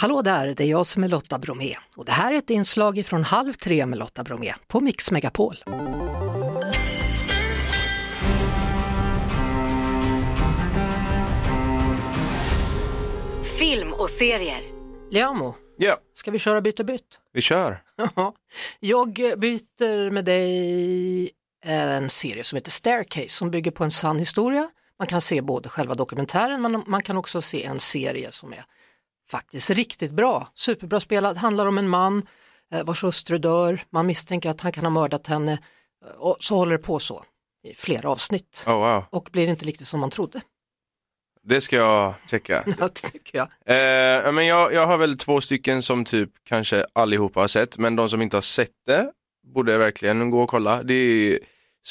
Hallå där, det är jag som är Lotta Bromé och det här är ett inslag från Halv tre med Lotta Bromé på Mix Megapol. Film och serier. Leamo, Ja, ska vi köra byt och bytt? vi kör. Ja. Jag byter med dig en serie som heter Staircase som bygger på en sann historia. Man kan se både själva dokumentären men man kan också se en serie som är faktiskt riktigt bra, superbra spelad. Handlar om en man eh, vars hustru dör, man misstänker att han kan ha mördat henne och så håller det på så i flera avsnitt Oh, wow. och blir inte riktigt som man trodde. Det ska jag checka. Ja, det tycker jag. Eh, men jag, jag har väl två stycken som typ kanske allihopa har sett, men de som inte har sett det borde verkligen gå och kolla. Det är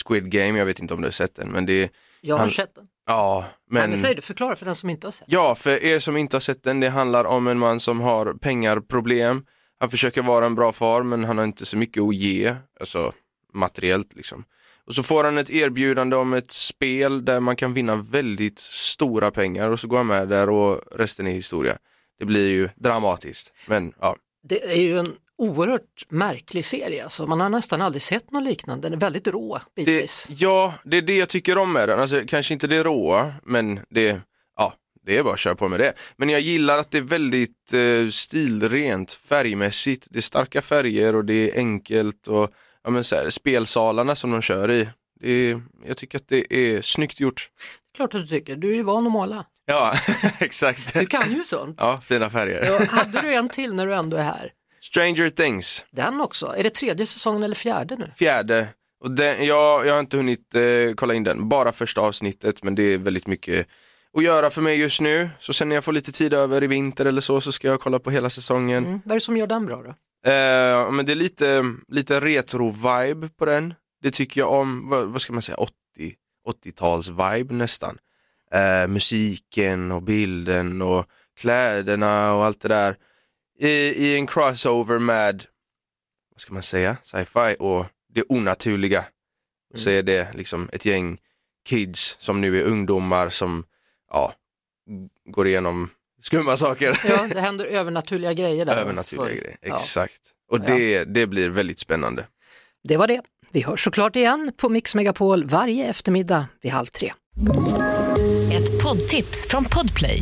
Squid Game, jag vet inte om du har sett den, men det är, Jag har Han- sett den. ja, Nej, men... men säg det, förklara för den som inte har sett. Ja, för er som inte har sett den, det handlar om en man som har pengarproblem. Han försöker vara en bra far, men han har inte så mycket att ge, alltså materiellt liksom. Och så får han ett erbjudande om ett spel där man kan vinna väldigt stora pengar och så går han med där och resten är historia. Det blir ju dramatiskt, men ja. Det är ju en oerhört märklig serie, alltså. man har nästan aldrig sett något liknande, den är väldigt rå Det, bitvis. ja, det är det jag tycker om med den. Alltså, kanske inte det råa, men det, ja, det är bara att köra på med det. Men jag gillar att det är väldigt eh, stilrent färgmässigt. Det är starka färger och det är enkelt och ja, men så här, spelsalarna som de kör i. Det är, jag tycker att det är snyggt gjort. Klart att du tycker, du är ju van att måla. Ja, exakt. Du kan ju sånt. Ja, fina färger. Ja, hade du en till när du ändå är här? Stranger Things, Den också, är det tredje säsongen eller fjärde nu? fjärde. Och den, jag, jag har inte hunnit eh, kolla in den, bara första avsnittet men det är väldigt mycket att göra för mig just nu. Så sen när jag får lite tid över i vinter eller så, så ska jag kolla på hela säsongen. Mm. Vad är det som gör den bra då? Eh, men det är lite, lite retro-vibe på den. Det tycker jag om, vad, vad ska man säga, 80, 80-tals-vibe nästan. Eh, musiken och bilden och kläderna och allt det där. I, I en crossover med, vad ska man säga, sci-fi och det onaturliga. Så är det liksom ett gäng kids som nu är ungdomar som, ja, g- går igenom skumma saker. Ja, det händer övernaturliga grejer där. Övernaturliga För- grejer, Ja. exakt. Och Ja. det, det blir väldigt spännande. Det var det. Vi hörs såklart igen på Mix Megapol varje eftermiddag vid halv tre. Ett poddtips från Podplay.